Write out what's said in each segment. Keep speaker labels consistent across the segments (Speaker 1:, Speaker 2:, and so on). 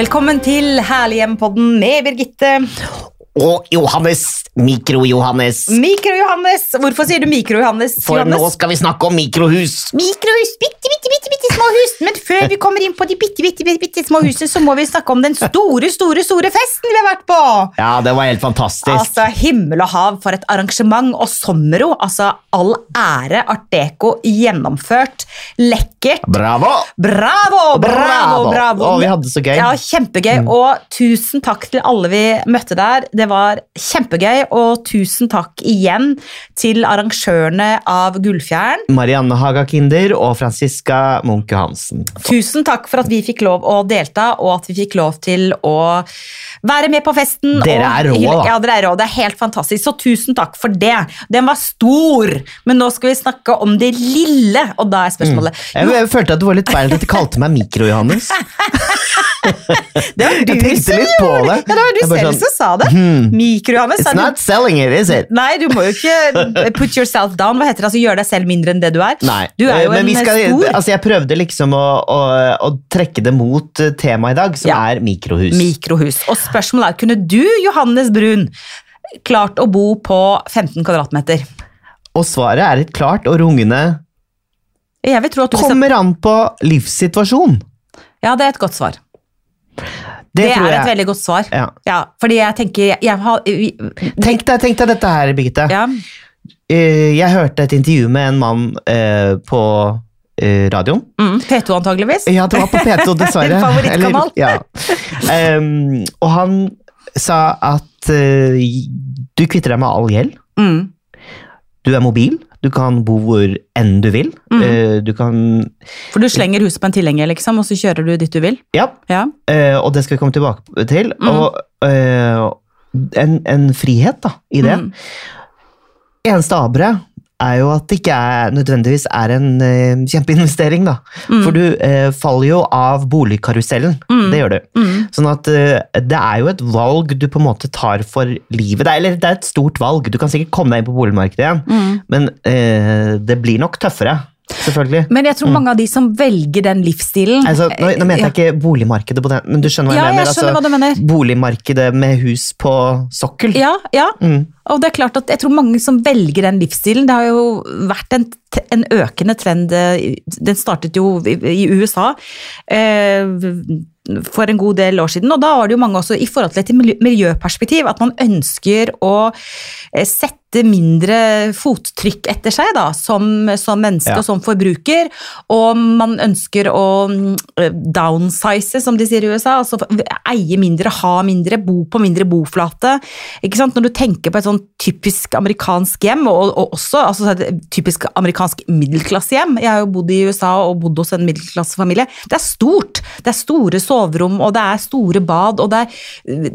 Speaker 1: Velkommen til Herlighjem-podden med Birgitte.
Speaker 2: Og Johannes, Mikro-Johannes.
Speaker 1: Mikro-Johannes. Hvorfor sier du Mikro-Johannes?
Speaker 2: For nå
Speaker 1: Mm, Johannes?
Speaker 2: skal vi snakke om mikrohus.
Speaker 1: Mikrohus, bitte, bitte, bitte, bitte små hus. Men før vi kommer inn på de bitte, bitte, bitte, bitte små husene, så må vi snakke om den store, store, store festen vi har vært på.
Speaker 2: Ja, det var helt fantastisk.
Speaker 1: Altså, himmel og hav for et arrangement, og sommero, altså all ære, Art Deco gjennomført, lekkert.
Speaker 2: Bravo!
Speaker 1: Bravo, bravo,
Speaker 2: Bravo.
Speaker 1: bravo.
Speaker 2: Å, vi hadde det så gøy. Mm.
Speaker 1: Ja, kjempegøy. Og tusen takk til alle vi møtte der. Det var kjempegøy, og tusen takk igjen til arrangørene av Gullfjæren.
Speaker 2: Marianne Haga Kinder og Franziska Munch Johansen.
Speaker 1: Tusen takk for at vi fikk lov å delta, og at vi fikk lov til å være med på festen.
Speaker 2: Dere
Speaker 1: og
Speaker 2: er rå, da.
Speaker 1: Ja, dere er rå. Det er helt fantastisk. Så tusen takk for det. Den var stor, men nå skal vi snakke om det lille, og da er spørsmålet
Speaker 2: Mm. Jeg, jeg følte at det var litt feil at de kalte meg Mikro-Johannes.
Speaker 1: Det var du
Speaker 2: Jeg tenkte
Speaker 1: som
Speaker 2: litt på
Speaker 1: gjorde
Speaker 2: det.
Speaker 1: Ja, det var du
Speaker 2: Jeg bare
Speaker 1: selv
Speaker 2: sånn,
Speaker 1: som sa det. Mikro-Johannes.
Speaker 2: It's
Speaker 1: sa du-
Speaker 2: not selling it, is it?
Speaker 1: Nei, du må jo ikke put yourself down. Hva heter det? Altså, gjøre deg selv mindre enn det du er.
Speaker 2: Nei. Eh,
Speaker 1: Du er jo
Speaker 2: men
Speaker 1: en
Speaker 2: vi skal,
Speaker 1: stor
Speaker 2: altså, jeg prøvde liksom å, å, å trekke det mot eh, temaet i dag, som
Speaker 1: Ja.
Speaker 2: er mikrohus.
Speaker 1: mikrohus. Og spørsmålet er, kunne du, Johannes Brun, klart å bo på 15 kvadratmeter?
Speaker 2: og svaret er et klart og rungende
Speaker 1: Jeg vil tro at du vil
Speaker 2: Kommer an på livssituasjon.
Speaker 1: Ja, det er et godt svar.
Speaker 2: Det,
Speaker 1: Det,
Speaker 2: tror
Speaker 1: er et
Speaker 2: jeg.
Speaker 1: veldig godt svar.
Speaker 2: Ja.
Speaker 1: fordi jeg tenker jeg, jeg har, vi-
Speaker 2: Tenk deg, tenk deg dette her, Birgitte.
Speaker 1: ja.
Speaker 2: Eh, jeg hørte et intervju med en mann eh, på eh, radioen.
Speaker 1: mm, P2 antageligvis.
Speaker 2: Ja, det var på P2, dessverre.
Speaker 1: Din favorittkanal.
Speaker 2: Eller- ja. Em, og han sa at eh, du kvitter deg med all gjeld.
Speaker 1: Mm.
Speaker 2: Du er mobil. Du kan bo hvor enn du vil.
Speaker 1: Mhm.
Speaker 2: Eh, du kan
Speaker 1: For du slenger huset på en tilhenger, liksom, og så kjører du dit du vil.
Speaker 2: Ja,
Speaker 1: Ja.
Speaker 2: eh, og det skal vi komme tilbake til.
Speaker 1: Mhm.
Speaker 2: Og eh, en, en frihet da, i det.
Speaker 1: Mm.
Speaker 2: Eneste aberet er jo at det ikke er, nødvendigvis er en eh, kjempeinvestering, da.
Speaker 1: Mm.
Speaker 2: For du eh, faller jo av boligkarusellen.
Speaker 1: Mm.
Speaker 2: Det gjør du.
Speaker 1: Mm.
Speaker 2: Sånn at eh, det er jo et valg du på en måte tar for livet. Det er, eller det er et stort valg. Du kan sikkert komme deg inn på boligmarkedet igjen,
Speaker 1: Mm.
Speaker 2: men eh, det blir nok tøffere. Selvfølgelig.
Speaker 1: Men jeg tror mange av de som velger den livsstilen
Speaker 2: Mm. Altså, nå, nå mente jeg
Speaker 1: ja.
Speaker 2: ikke boligmarkedet på den, men du skjønner hva
Speaker 1: Ja,
Speaker 2: jeg mener? Altså,
Speaker 1: jeg skjønner hva du mener.
Speaker 2: Boligmarkedet med hus på sokkel.
Speaker 1: eh, Ja, ja.
Speaker 2: Mm.
Speaker 1: Og det er klart at jeg tror mange som velger den livsstilen Det har jo vært en, t- en økende trend eh, Den startet jo i, i USA eh, for en god del år siden, og da var det jo mange også i forhold til et miljø- miljøperspektiv at man ønsker å eh, sette mindre fottrykk etter seg da, som, som menneske
Speaker 2: Ja.
Speaker 1: og som forbruker, og man ønsker å mm, downsize, som de sier i USA, altså eie mindre, ha mindre, bo på mindre boflate. Ikke sant? Når du tenker på et sånn typisk amerikansk hjem, og, og også altså, et typisk amerikansk middelklassehjem, jeg har jo bodd i USA og bodd hos en middelklassefamilie, det er stort. Det er store soverom, og det er store bad, og det er,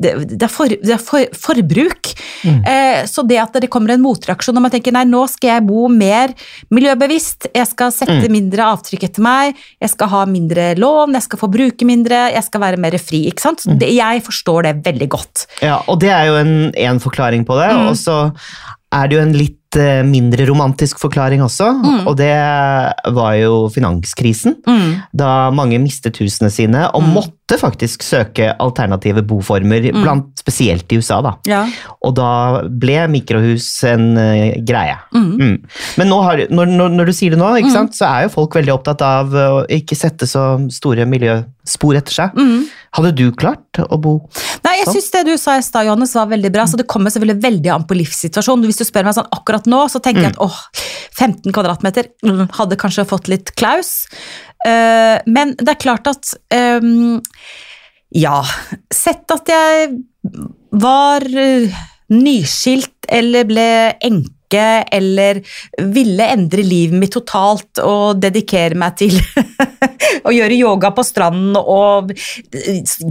Speaker 1: det, det er, for, det er for, forbruk. Eh, så det at det kommer en motreaksjon når man tenker nei, nå skal jeg bo mer miljøbevisst, jeg skal sette mindre avtrykk etter meg, jeg skal ha mindre lån, jeg skal få bruke mindre, jeg skal være mer fri, ikke sant? Det, jeg forstår det veldig godt.
Speaker 2: Ja, og det er jo en, en forklaring på det.
Speaker 1: Mm.
Speaker 2: Og så er det jo en litt eh, mindre romantisk forklaring også,
Speaker 1: Mm.
Speaker 2: og det var jo finanskrisen. Da mange mistet husene sine
Speaker 1: Mm.
Speaker 2: og måtte faktisk søke alternative boformer, blant, spesielt i USA. da.
Speaker 1: Ja.
Speaker 2: Og da ble mikrohus en eh, greie. Mm. Men nå har, når, når, når du sier det nå,
Speaker 1: Mm.
Speaker 2: ikke sant, så er jo folk veldig opptatt av eh, å ikke sette så store miljøspor etter seg.
Speaker 1: Mm.
Speaker 2: Hadde du klart å bo
Speaker 1: Nei, jeg synes det du sa i stad, Johannes, var veldig bra. Så det kommer selvfølgelig veldig an på livssituasjonen. Hvis du spør meg sånn akkurat nå, så tenker jeg at åh, 15 kvadratmeter mm, hadde kanskje fått litt klaus. Eh, men det er klart at ehm, ja, sett at jeg var eh, nyskilt eller ble enke eller ville endre livet mitt totalt og dedikere meg til å gjøre yoga på stranden og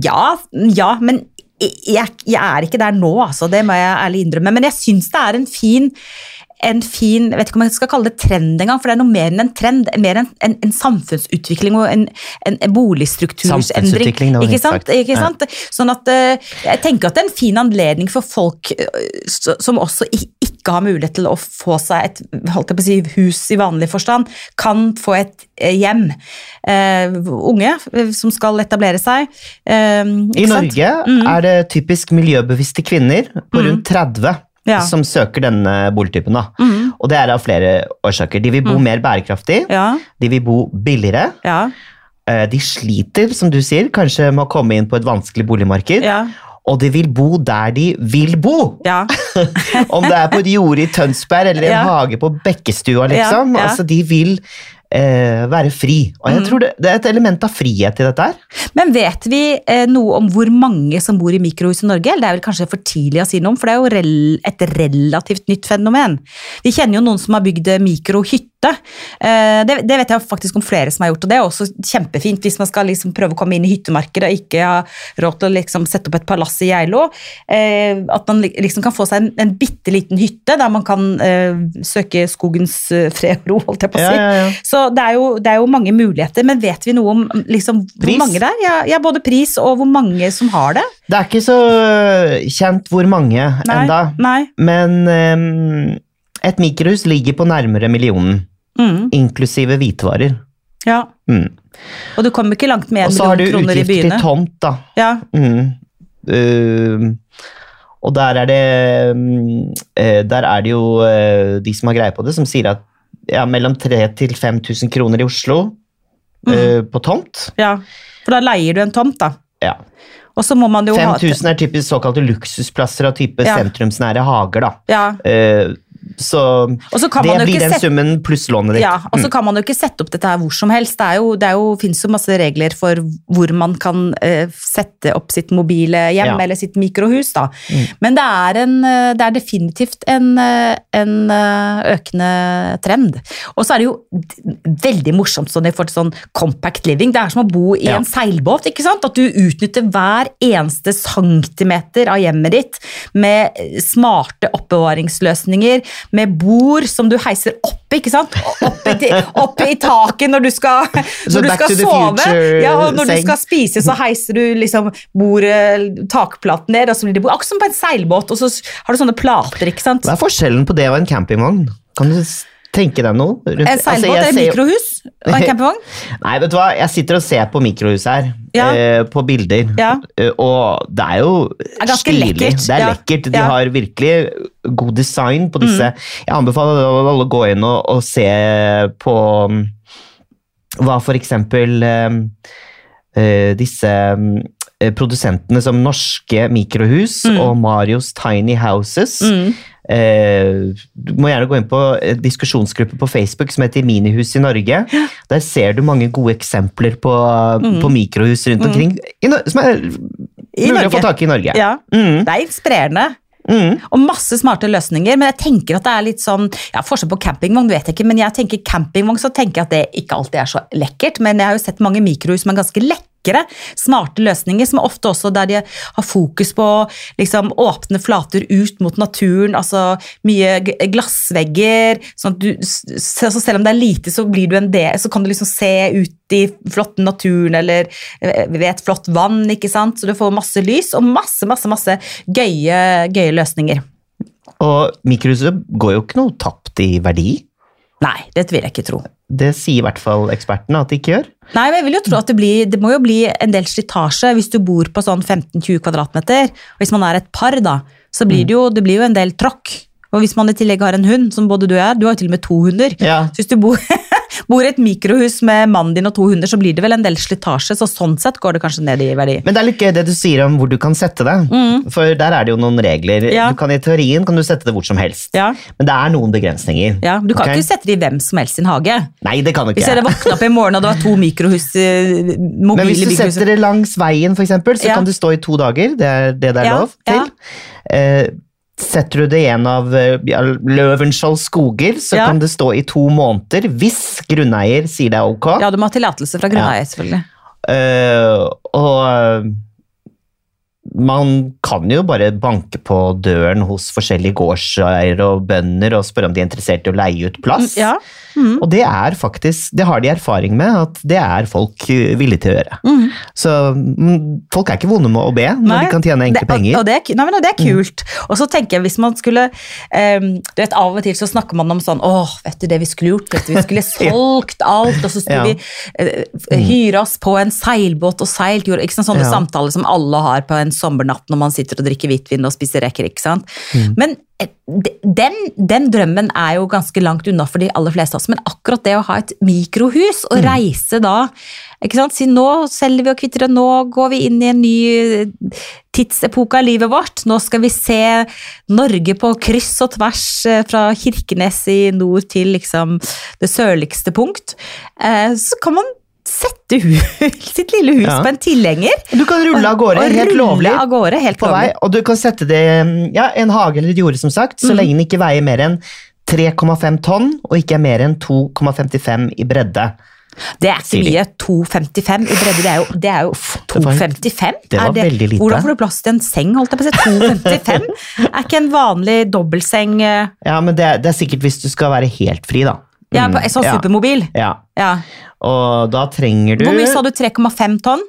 Speaker 1: Ja, ja, men jeg, jeg er ikke der nå, altså, det må jeg ærlig innrømme. Men jeg syns det er en fin en fin jeg vet ikke om jeg skal kalle det trend engang, for det er noe mer enn en trend, mer enn en, en samfunnsutvikling og en, en, en boligstrukturendring.
Speaker 2: Samfunnsutvikling, det var
Speaker 1: Ikke
Speaker 2: fint
Speaker 1: sant?
Speaker 2: sagt.
Speaker 1: Ikke
Speaker 2: Ja.
Speaker 1: sant? Sånn at eh, jeg tenker at det er en fin anledning for folk eh, s- som også i- ikke har mulighet til å få seg et holdt jeg på å si, hus i vanlig forstand, kan få et eh, hjem. Eh, unge eh, som skal etablere seg. eh,
Speaker 2: I
Speaker 1: ikke sant? Mm.
Speaker 2: Norge er det typisk miljøbevisste kvinner på rundt 30
Speaker 1: Ja. Mm.
Speaker 2: som søker denne boligtypen. Da. Og det er av flere årsaker. De vil bo mer bærekraftig,
Speaker 1: Ja,
Speaker 2: de vil bo billigere,
Speaker 1: ja,
Speaker 2: eh, de sliter, som du sier, kanskje med å komme inn på et vanskelig boligmarked,
Speaker 1: ja.
Speaker 2: og de vil bo der de vil bo!
Speaker 1: ja.
Speaker 2: Om det er på et jorde i Tønsberg eller en
Speaker 1: Ja.
Speaker 2: hage på Bekkestua,
Speaker 1: Ja,
Speaker 2: liksom.
Speaker 1: Mm. ja.
Speaker 2: Altså, de vil eh, være fri. Og jeg tror det, det er et element av frihet i dette her.
Speaker 1: Men vet vi eh, noe om hvor mange som bor i mikrohus i Norge? Eller det er vel kanskje for tidlig å si noe om, for det er jo rel et relativt nytt fenomen. Vi kjenner jo noen som har bygd eh, mikrohytte. Eh, det, det vet jeg faktisk om flere som har gjort, og det er også kjempefint hvis man skal liksom prøve å komme inn i hyttemarkedet og ikke ha råd til å liksom sette opp et palass i Geilo. Eh, at man li- liksom kan få seg en, en bitte liten hytte der man kan eh, søke skogens eh, fred og ro, holdt jeg på å si.
Speaker 2: Ja, ja, ja.
Speaker 1: Så det er, jo, det er jo mange muligheter, men vet vi noe om liksom, hvor
Speaker 2: Pris?
Speaker 1: mange det er? Ja, ja, både pris og hvor mange som har det.
Speaker 2: Det er ikke så eh, kjent hvor mange
Speaker 1: Nei,
Speaker 2: enda,
Speaker 1: Nei.
Speaker 2: men ehm, et mikrohus ligger på nærmere millionen,
Speaker 1: Mm,
Speaker 2: inklusive hvitevarer.
Speaker 1: ja.
Speaker 2: Mm.
Speaker 1: Og du kommer ikke langt med
Speaker 2: Og
Speaker 1: en
Speaker 2: så har du
Speaker 1: million kroner i
Speaker 2: utgifter til
Speaker 1: byene.
Speaker 2: tomt, da.
Speaker 1: Ja,
Speaker 2: Mm. Ehm, og der er det mm, eh, Der er det jo eh, de som har greie på det, som sier at ja, mellom 3000 til 5000 kroner i Oslo
Speaker 1: Mhm.
Speaker 2: eh, på tomt.
Speaker 1: ja. For da leier du en tomt, da.
Speaker 2: Ja.
Speaker 1: Og så må man jo ha
Speaker 2: 5000 er typisk såkalte luksusplasser av type
Speaker 1: Ja.
Speaker 2: sentrumsnære hager, da.
Speaker 1: ja.
Speaker 2: Eh, så
Speaker 1: Og så kan
Speaker 2: det
Speaker 1: man jo
Speaker 2: blir
Speaker 1: ikke
Speaker 2: den
Speaker 1: sette
Speaker 2: summen pluss lånet ditt. Mm.
Speaker 1: ja, altså- og så kan man jo ikke sette opp dette her hvor som helst. Det, er jo, det er jo, finnes jo masse regler for hvor man kan eh, sette opp sitt mobile hjem
Speaker 2: Ja.
Speaker 1: eller sitt mikrohus. Da.
Speaker 2: Mm.
Speaker 1: Men det er, en, eh, det er definitivt en, eh, en eh, økende trend. Og så er det jo d- veldig morsomt sånn i forhold til sånn compact living. Det er som å bo i
Speaker 2: Ja.
Speaker 1: en seilbåt. ikke sant? At du utnytter hver eneste centimeter av hjemmet ditt med eh, smarte oppbevaringsløsninger, med bord som du heiser opp, ikke sant? Opp i, opp i taket når du skal,
Speaker 2: Så
Speaker 1: når du
Speaker 2: back
Speaker 1: skal
Speaker 2: to the
Speaker 1: sove.
Speaker 2: future
Speaker 1: Ja, og når du
Speaker 2: seng.
Speaker 1: skal spise, så heiser du liksom bordet, takplaten ned, og så blir det bord. Akkurat som på en seilbåt, og så har du sånne plater, ikke sant?
Speaker 2: Hva er forskjellen på det og en campingvogn? Kan du s- tenke deg noe? rundt-
Speaker 1: En
Speaker 2: Altså,
Speaker 1: seilbåt er
Speaker 2: jeg
Speaker 1: et
Speaker 2: ser-
Speaker 1: mikrohus og en campingvogn.
Speaker 2: Nei, vet du hva? Jeg sitter og ser på mikrohuset her.
Speaker 1: Ja.
Speaker 2: eh, på bilder.
Speaker 1: Ja.
Speaker 2: Eh, og det er jo
Speaker 1: er ganske
Speaker 2: stilig.
Speaker 1: lekkert,
Speaker 2: Det er
Speaker 1: ja.
Speaker 2: lekkert. De
Speaker 1: Ja. Mm.
Speaker 2: har virkelig god design på disse. Jeg anbefaler alle å gå inn og, og se på mm, hva for eksempel eh, eh, disse mm, eh, produsentene som Norske Mikrohus
Speaker 1: Mm.
Speaker 2: og Marios Tiny Houses. Eh, du må gjerne gå inn på en diskusjonsgruppe på Facebook som heter Minihus i Norge. Der ser du mange gode eksempler på, på mikrohus rundt omkring i, Nor- som er
Speaker 1: Mm. I
Speaker 2: mulig å
Speaker 1: Norge.
Speaker 2: få tak i i Norge.
Speaker 1: Ja.
Speaker 2: Mm,
Speaker 1: Det er inspirerende.
Speaker 2: mm.
Speaker 1: Og masse smarte løsninger, men jeg tenker at det er litt sånn ja, Forskjell på campingvogn vet jeg ikke, men jeg tenker campingvogn så tenker jeg at det ikke alltid er så lekkert. Men jeg har jo sett mange mikrohus som er ganske lekre, smarte løsninger, som er ofte også der de har fokus på liksom åpne flater ut mot naturen, altså mye g- glassvegger. sånn at du, s- så så selv om det er lite, så blir du en del, så kan du liksom se ut i flott naturen eller eh, ved et flott vann, ikke sant. Så du får masse lys og masse, masse, masse gøye, gøye løsninger.
Speaker 2: Og mikrohuset går jo ikke noe tapt i verdi.
Speaker 1: Nei, det vil jeg ikke tro.
Speaker 2: Det sier i hvert fall ekspertene at de ikke gjør.
Speaker 1: Nei, men jeg vil jo tro at det blir Det må jo bli en del slitasje hvis du bor på sånn 15-20 kvadratmeter. Og hvis man er et par, da, så blir det jo, det blir jo en del tråkk. Og hvis man i tillegg har en hund, som både du og jeg, du har jo til og med to hunder.
Speaker 2: Ja.
Speaker 1: Så hvis du bor, bor i et mikrohus med mannen din og to hunder, så blir det vel en del slitasje. Så sånn sett går det kanskje ned i verdi.
Speaker 2: Men det er litt gøy det du sier om hvor du kan sette det. For der er det jo noen regler.
Speaker 1: Mm. Ja.
Speaker 2: Du kan, I teorien kan du sette det hvor som helst.
Speaker 1: Ja,
Speaker 2: Men det er noen begrensninger.
Speaker 1: ja. Du kan
Speaker 2: Ok?
Speaker 1: ikke sette det i hvem som helst sin hage.
Speaker 2: Nei, det kan du
Speaker 1: Hvis
Speaker 2: ikke.
Speaker 1: jeg hadde våkna opp i morgen og det var to mikrohus, eh,
Speaker 2: Men
Speaker 1: mobile
Speaker 2: hvis du
Speaker 1: mikrohus
Speaker 2: setter det langs veien, for eksempel, så
Speaker 1: Ja.
Speaker 2: kan du stå i to dager. Det er det det er
Speaker 1: Ja,
Speaker 2: lov
Speaker 1: ja.
Speaker 2: til. Eh, setter du det i en av eh, ja, Løvenskiold skoger, så
Speaker 1: Ja.
Speaker 2: kan det stå i to måneder hvis grunneier sier det er ok.
Speaker 1: Ja, du må ha tillatelse fra grunneier, selvfølgelig.
Speaker 2: Eh, og eh, man kan jo bare banke på døren hos forskjellige gårdseiere og bønder og spørre om de er interessert i å leie ut plass.
Speaker 1: Ja. Mm.
Speaker 2: Og det er faktisk, det har de erfaring med, at det er folk eh, villige til å gjøre. Så mm, folk er ikke vonde med å be når
Speaker 1: Nei,
Speaker 2: de kan tjene enkle
Speaker 1: det,
Speaker 2: penger. Mm.
Speaker 1: Og, og det, er ku- nei, men det er kult. Og så tenker jeg hvis man skulle ehm, du vet, Av og til så snakker man om sånn åh, vet du det vi skulle gjort? Vet du, vi skulle solgt alt, og så skulle
Speaker 2: Ja. Mm.
Speaker 1: vi eh, f- hyre oss på en seilbåt og seilt jord. Ikke sant? Sånne
Speaker 2: Ja.
Speaker 1: samtaler som alle har på en sommernatt når man sitter og drikker hvitvin og spiser reker. ikke sant?
Speaker 2: Mm.
Speaker 1: Men eh, de- den, den drømmen er jo ganske langt unna for de aller fleste av oss. Men akkurat det å ha et mikrohus
Speaker 2: Mm.
Speaker 1: og reise da ikke sant? Si nå selger vi og kvitter, og nå går vi inn i en ny eh, tidsepoke av livet vårt. Nå skal vi se Norge på kryss og tvers, eh, fra Kirkenes i nord til liksom det sørligste punkt. Eh, Så kan man sette hu- sitt lille hus
Speaker 2: Ja.
Speaker 1: på en tilhenger.
Speaker 2: Du kan rulle av gårde,
Speaker 1: og
Speaker 2: helt
Speaker 1: rulle
Speaker 2: lovlig.
Speaker 1: Av gårde, helt
Speaker 2: på vei,
Speaker 1: lovlig.
Speaker 2: og du kan sette det mm, ja, en hage eller et jorde, som sagt,
Speaker 1: Mm.
Speaker 2: så lenge den ikke veier mer enn 3,5 tonn og ikke er mer enn 2,55 i bredde.
Speaker 1: Det er ikke
Speaker 2: Sier de.
Speaker 1: mye. 2,55 i bredde, det er jo, det er jo
Speaker 2: det var-
Speaker 1: 2,55?
Speaker 2: det var
Speaker 1: Er
Speaker 2: veldig lite.
Speaker 1: Hvordan får du plass til en seng, holdt jeg på å si? 2,55? er ikke en vanlig dobbeltseng eh,
Speaker 2: Ja, men det, er- det er sikkert hvis du skal være helt fri, da.
Speaker 1: Ja,
Speaker 2: Mm,
Speaker 1: på, sånn
Speaker 2: ja,
Speaker 1: supermobil.
Speaker 2: ja.
Speaker 1: Ja.
Speaker 2: Og da trenger du
Speaker 1: Hvor mye sa du? 3,5 tonn?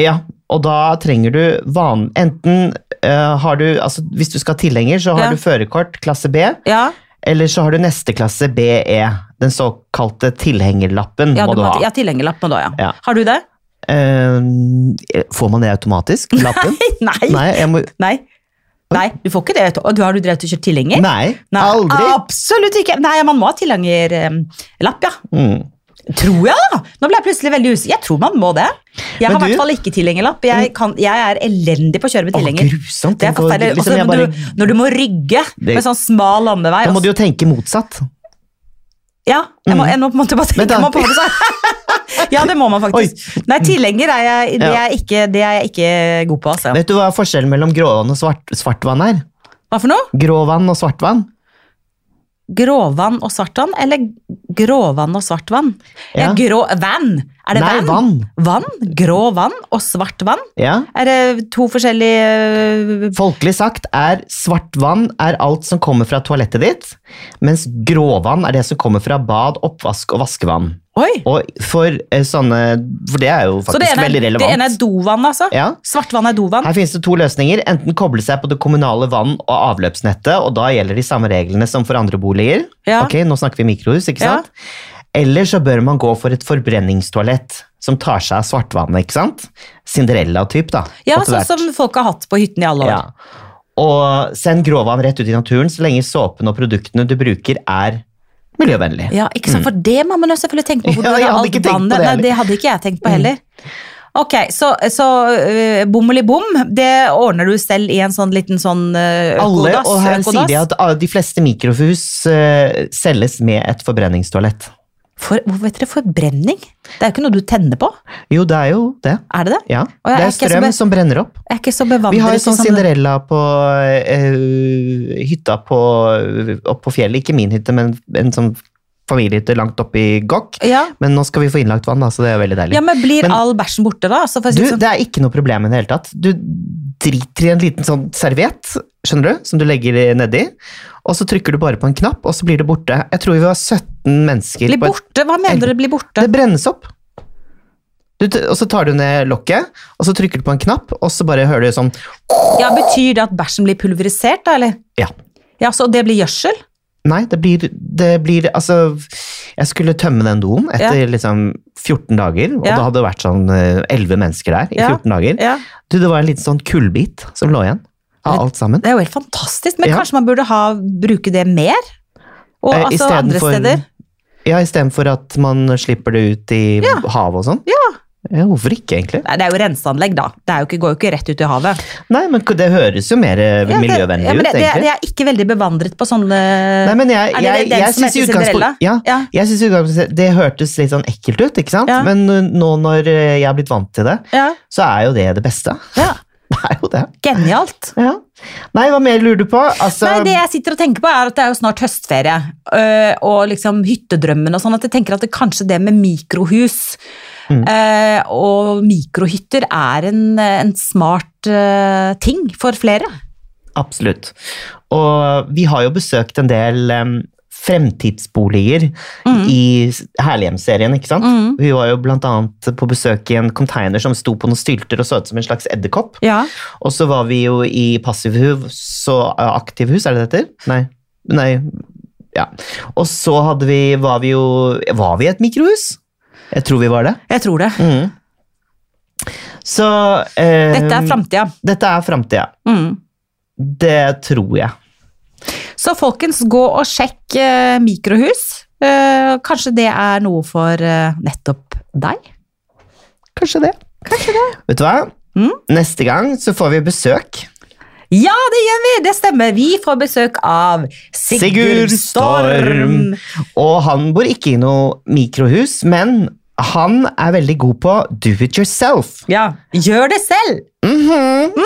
Speaker 2: Ja, og da trenger du van... Enten eh, har du Altså, hvis du skal ha tilhenger, så har
Speaker 1: Ja.
Speaker 2: du førerkort klasse B,
Speaker 1: Ja,
Speaker 2: eller så har du neste klasse BE. Den såkalte tilhengerlappen
Speaker 1: ja,
Speaker 2: må
Speaker 1: du
Speaker 2: du
Speaker 1: må,
Speaker 2: ha.
Speaker 1: ja tilhengerlapp må du ha, ja.
Speaker 2: Ja.
Speaker 1: Har du det?
Speaker 2: Eh, får man det automatisk? Lappen?
Speaker 1: Nei. Nei.
Speaker 2: Nei, jeg må,
Speaker 1: Nei. du får ikke det. vet du. Og du- Har du drevet og kjørt tilhenger?
Speaker 2: nei,
Speaker 1: Eh? Nei, Ah.
Speaker 2: aldri.
Speaker 1: Absolutt ikke. Nei, man må ha tilhengerlapp, ja.
Speaker 2: Mm.
Speaker 1: Tror jeg, da! Nå ble jeg plutselig veldig usikker. Jeg tror man må det. Jeg har
Speaker 2: Men
Speaker 1: i
Speaker 2: du-
Speaker 1: hvert fall ikke tilhengerlapp. Jeg, kan, jeg er elendig på å kjøre med
Speaker 2: Å,
Speaker 1: tilhenger.
Speaker 2: grusomt.
Speaker 1: det er
Speaker 2: Tenk å-
Speaker 1: forferdelig.
Speaker 2: liksom,
Speaker 1: Også
Speaker 2: jeg
Speaker 1: når,
Speaker 2: bare,
Speaker 1: du, når du må rygge
Speaker 2: Det-
Speaker 1: med sånn smal landevei.
Speaker 2: da må
Speaker 1: og-
Speaker 2: du jo tenke motsatt.
Speaker 1: Ja, jeg må, jeg må på en måte bare
Speaker 2: Vent
Speaker 1: tenke
Speaker 2: da.
Speaker 1: meg på det. så- ja, det må man faktisk. Nei, tilhenger er jeg, det, er jeg ikke, det er jeg ikke god på. Altså.
Speaker 2: Vet du hva forskjellen mellom gråvann og svart, svartvann er?
Speaker 1: Hva for noe?
Speaker 2: Gråvann og svartvann.
Speaker 1: Gråvann og svartvann, eller gråvann og svartvann? Ja.
Speaker 2: Ja.
Speaker 1: Grå vann? Er det
Speaker 2: Nei,
Speaker 1: vann?
Speaker 2: vann.
Speaker 1: Vann? Grå vann og svart vann?
Speaker 2: Ja.
Speaker 1: Er det to forskjellige øh,
Speaker 2: Folkelig sagt er svartvann er alt som kommer fra toalettet ditt, mens gråvann er det som kommer fra bad, oppvask og vaskevann.
Speaker 1: Oi!
Speaker 2: Og for eh, sånne For det er jo
Speaker 1: Så det
Speaker 2: faktisk
Speaker 1: ene, er-
Speaker 2: veldig
Speaker 1: det
Speaker 2: relevant.
Speaker 1: ene er dovann, altså?
Speaker 2: ja.
Speaker 1: Svartvann er dovann?
Speaker 2: Her finnes det to løsninger. Enten koble seg på det kommunale vann- og avløpsnettet, og da gjelder de samme reglene som for andre boliger.
Speaker 1: Ja.
Speaker 2: Ok, nå snakker vi mikrohus, ikke
Speaker 1: Ja.
Speaker 2: sant? Eller så bør man gå for et forbrenningstoalett som tar seg av svartvannet, ikke sant? Cinderella-typ, da.
Speaker 1: Ja,
Speaker 2: etter
Speaker 1: sånn
Speaker 2: hvert.
Speaker 1: som folk har hatt på hyttene i alle år.
Speaker 2: Ja. Og send gråvann rett ut i naturen så lenge såpen og produktene du bruker er miljøvennlig.
Speaker 1: Ja, ikke sant, for det må man jo selvfølgelig tenke på. hvor
Speaker 2: Mm.
Speaker 1: du
Speaker 2: Ja, jeg
Speaker 1: har
Speaker 2: hadde
Speaker 1: alt
Speaker 2: ikke tenkt på
Speaker 1: vannet.
Speaker 2: det
Speaker 1: Nei,
Speaker 2: heller. Mm.
Speaker 1: det hadde ikke jeg tenkt på heller. Ok, så, så øh, bom, det ordner du selv i en sånn liten sånn øh,
Speaker 2: Alle,
Speaker 1: økodass,
Speaker 2: og her
Speaker 1: økodass.
Speaker 2: sier de at ah, de fleste mikrohus eh, selges med et forbrenningstoalett.
Speaker 1: For, Hvorfor heter det forbrenning? Det er jo ikke noe du tenner på,
Speaker 2: Jo, det er jo det.
Speaker 1: er det det?
Speaker 2: Ja.
Speaker 1: Og jeg
Speaker 2: Det
Speaker 1: er
Speaker 2: er
Speaker 1: ikke så be-
Speaker 2: strøm som brenner opp.
Speaker 1: Jeg er ikke så bevandret.
Speaker 2: Vi har
Speaker 1: i
Speaker 2: jo sånn Cinderella på eh, hytta på, opp på fjellet. Ikke min hytte, men en sånn familiehytte langt oppe i Gokk.
Speaker 1: Ja,
Speaker 2: Men nå skal vi få innlagt vann, da, så det er veldig deilig.
Speaker 1: ja, men blir
Speaker 2: Men-
Speaker 1: all bæsjen borte da? Så får jeg
Speaker 2: Du,
Speaker 1: si sånn,
Speaker 2: det er ikke noe problem i det hele tatt. Du driter i en liten sånn serviett, skjønner du, som du legger nedi, og så trykker du bare på en knapp, og så blir det borte. Jeg tror vi var 17 mennesker
Speaker 1: blir
Speaker 2: på et-
Speaker 1: borte? Hva mener du blir borte?
Speaker 2: Det brennes opp. Du, t- og så tar du ned lokket, og så trykker du på en knapp, og så bare hører du sånn
Speaker 1: Ja, betyr det at bæsjen blir pulverisert da, eller?
Speaker 2: Ja.
Speaker 1: Ja, så det blir gjødsel?
Speaker 2: Nei, det blir, det blir Altså, jeg skulle tømme den doen etter liksom 14 dager, og
Speaker 1: Ja.
Speaker 2: da hadde det vært sånn eh, 11 mennesker der i
Speaker 1: Ja.
Speaker 2: 14 dager.
Speaker 1: Ja.
Speaker 2: Du, det var en liten sånn kullbit som lå igjen av alt sammen.
Speaker 1: Det er jo helt fantastisk, men
Speaker 2: Ja.
Speaker 1: kanskje man burde ha, bruke det mer? Og
Speaker 2: Eh,
Speaker 1: altså
Speaker 2: isteden
Speaker 1: andre
Speaker 2: for-
Speaker 1: steder?
Speaker 2: Ja, istedenfor at man slipper det ut i havet og sånn. Ja, Hvorfor ikke, egentlig?
Speaker 1: Nei, det er jo renseanlegg, da. Det er jo ikke, går jo ikke rett ut i havet.
Speaker 2: Nei, men det høres jo mer eh,
Speaker 1: Ja, det-
Speaker 2: miljøvennlig
Speaker 1: ja, men det,
Speaker 2: ut,
Speaker 1: det,
Speaker 2: egentlig.
Speaker 1: Jeg er ikke veldig bevandret på sånne
Speaker 2: Nei, men jeg,
Speaker 1: Er det
Speaker 2: jeg,
Speaker 1: den
Speaker 2: jeg,
Speaker 1: som
Speaker 2: synes i
Speaker 1: heter Cinderella?
Speaker 2: utgangspunktet ja,
Speaker 1: Ja.
Speaker 2: jeg synes i utgangspunktet det hørtes litt sånn ekkelt ut, ikke sant?
Speaker 1: Ja.
Speaker 2: Men eh, nå når eh, jeg har blitt vant til det,
Speaker 1: Ja,
Speaker 2: så er jo det det beste.
Speaker 1: ja.
Speaker 2: Det er jo det.
Speaker 1: Genialt.
Speaker 2: Ja. Nei, hva mer lurer du på? Altså,
Speaker 1: Nei, det jeg sitter og tenker på er at det er jo snart høstferie, øh, og liksom hyttedrømmen og sånn, at jeg tenker at det kanskje det med mikrohus Eh, og mikrohytter er en, en smart eh, ting for flere.
Speaker 2: Absolutt. Og vi har jo besøkt en del em, fremtidsboliger
Speaker 1: Mm.
Speaker 2: i s- Herlighjem-serien, ikke sant? Vi var jo blant annet på besøk i en container som sto på noen stylter og så ut som en slags edderkopp.
Speaker 1: Ja.
Speaker 2: Og så var vi jo i passivhus og aktivhus, eh, er det det heter? Nei. Nei. Ja. Og så hadde vi, var vi jo Var vi i et mikrohus? Jeg tror vi var det.
Speaker 1: Jeg tror det.
Speaker 2: Mm. Så eh,
Speaker 1: Dette er framtida.
Speaker 2: Dette er framtida.
Speaker 1: Mm.
Speaker 2: Det tror jeg.
Speaker 1: Så folkens, gå og sjekk eh, mikrohus. Eh, kanskje det er noe for eh, nettopp deg?
Speaker 2: Kanskje det. Vet du hva? Neste gang så får vi besøk.
Speaker 1: Ja, det gjør vi! Det stemmer. Vi får besøk av Sigurd
Speaker 2: Sigurd
Speaker 1: Storm.
Speaker 2: Storm. Og han bor ikke i noe mikrohus, men han er veldig god på do it yourself.
Speaker 1: Ja, gjør det selv! Mhm.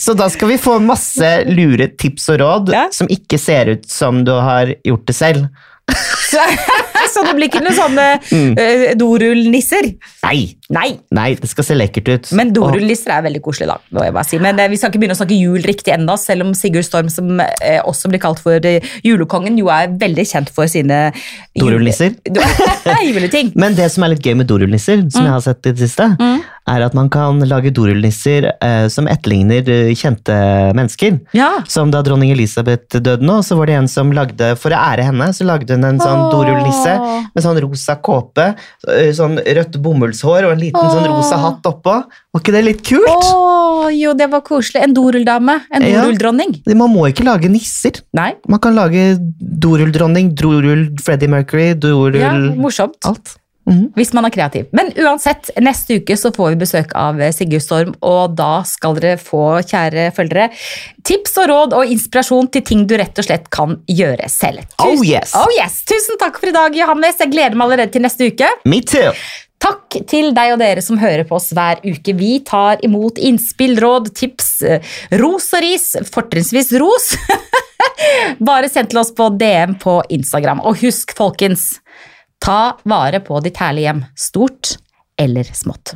Speaker 2: Så da skal vi få masse lure tips og råd
Speaker 1: Ja.
Speaker 2: som ikke ser ut som du har gjort det selv.
Speaker 1: Så, så det blir ikke noen sånne
Speaker 2: Mm.
Speaker 1: eh, dorullnisser.
Speaker 2: Nei,
Speaker 1: Nei,
Speaker 2: nei, det skal se lekkert ut.
Speaker 1: men
Speaker 2: Og-
Speaker 1: dorullnisser er veldig koselig, da. Må jeg bare si. Men eh, vi skal ikke begynne å snakke jul riktig ennå, selv om Sigurd Storm, som eh, også blir kalt for eh, julekongen, jo er veldig kjent for sine jule-
Speaker 2: Dorullnisser?
Speaker 1: juleting.
Speaker 2: Men det som er litt gøy med dorullnisser,
Speaker 1: Mm.
Speaker 2: som jeg har sett i det siste, er at man kan lage dorullnisser eh, som etterligner eh, kjente mennesker.
Speaker 1: Ja.
Speaker 2: Som da dronning Elisabeth døde nå, så var det en som lagde, for å ære henne, så lagde hun en sånn
Speaker 1: Åh.
Speaker 2: dorullnisse med sånn rosa kåpe, øh, sånn rødt bomullshår og en liten sånn
Speaker 1: Åh.
Speaker 2: rosa hatt oppå. Var ikke det litt kult?
Speaker 1: Å, jo, det var koselig. En dorulldame. En
Speaker 2: Ja.
Speaker 1: dorulldronning.
Speaker 2: Man må ikke lage nisser.
Speaker 1: Nei.
Speaker 2: Man kan lage dorulldronning, dorull Freddie Mercury, dorull
Speaker 1: Ja, morsomt.
Speaker 2: alt. Mhm.
Speaker 1: Hvis man er kreativ. Men uansett, neste uke så får vi besøk av eh, Sigurd Storm, og da skal dere få, kjære følgere, tips og råd og inspirasjon til ting du rett og slett kan gjøre selv.
Speaker 2: Oh, yes.
Speaker 1: oh yes! Tusen takk for i dag, Johannes. Jeg gleder meg allerede til neste uke.
Speaker 2: Me too!
Speaker 1: Takk til deg og dere som hører på oss hver uke. Vi tar imot innspill, råd, tips, eh, ros og ris, fortrinnsvis ros. Bare send til oss på DM på Instagram. Og husk, folkens, ta vare på ditt herlige hjem, stort eller smått.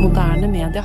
Speaker 3: Moderne media.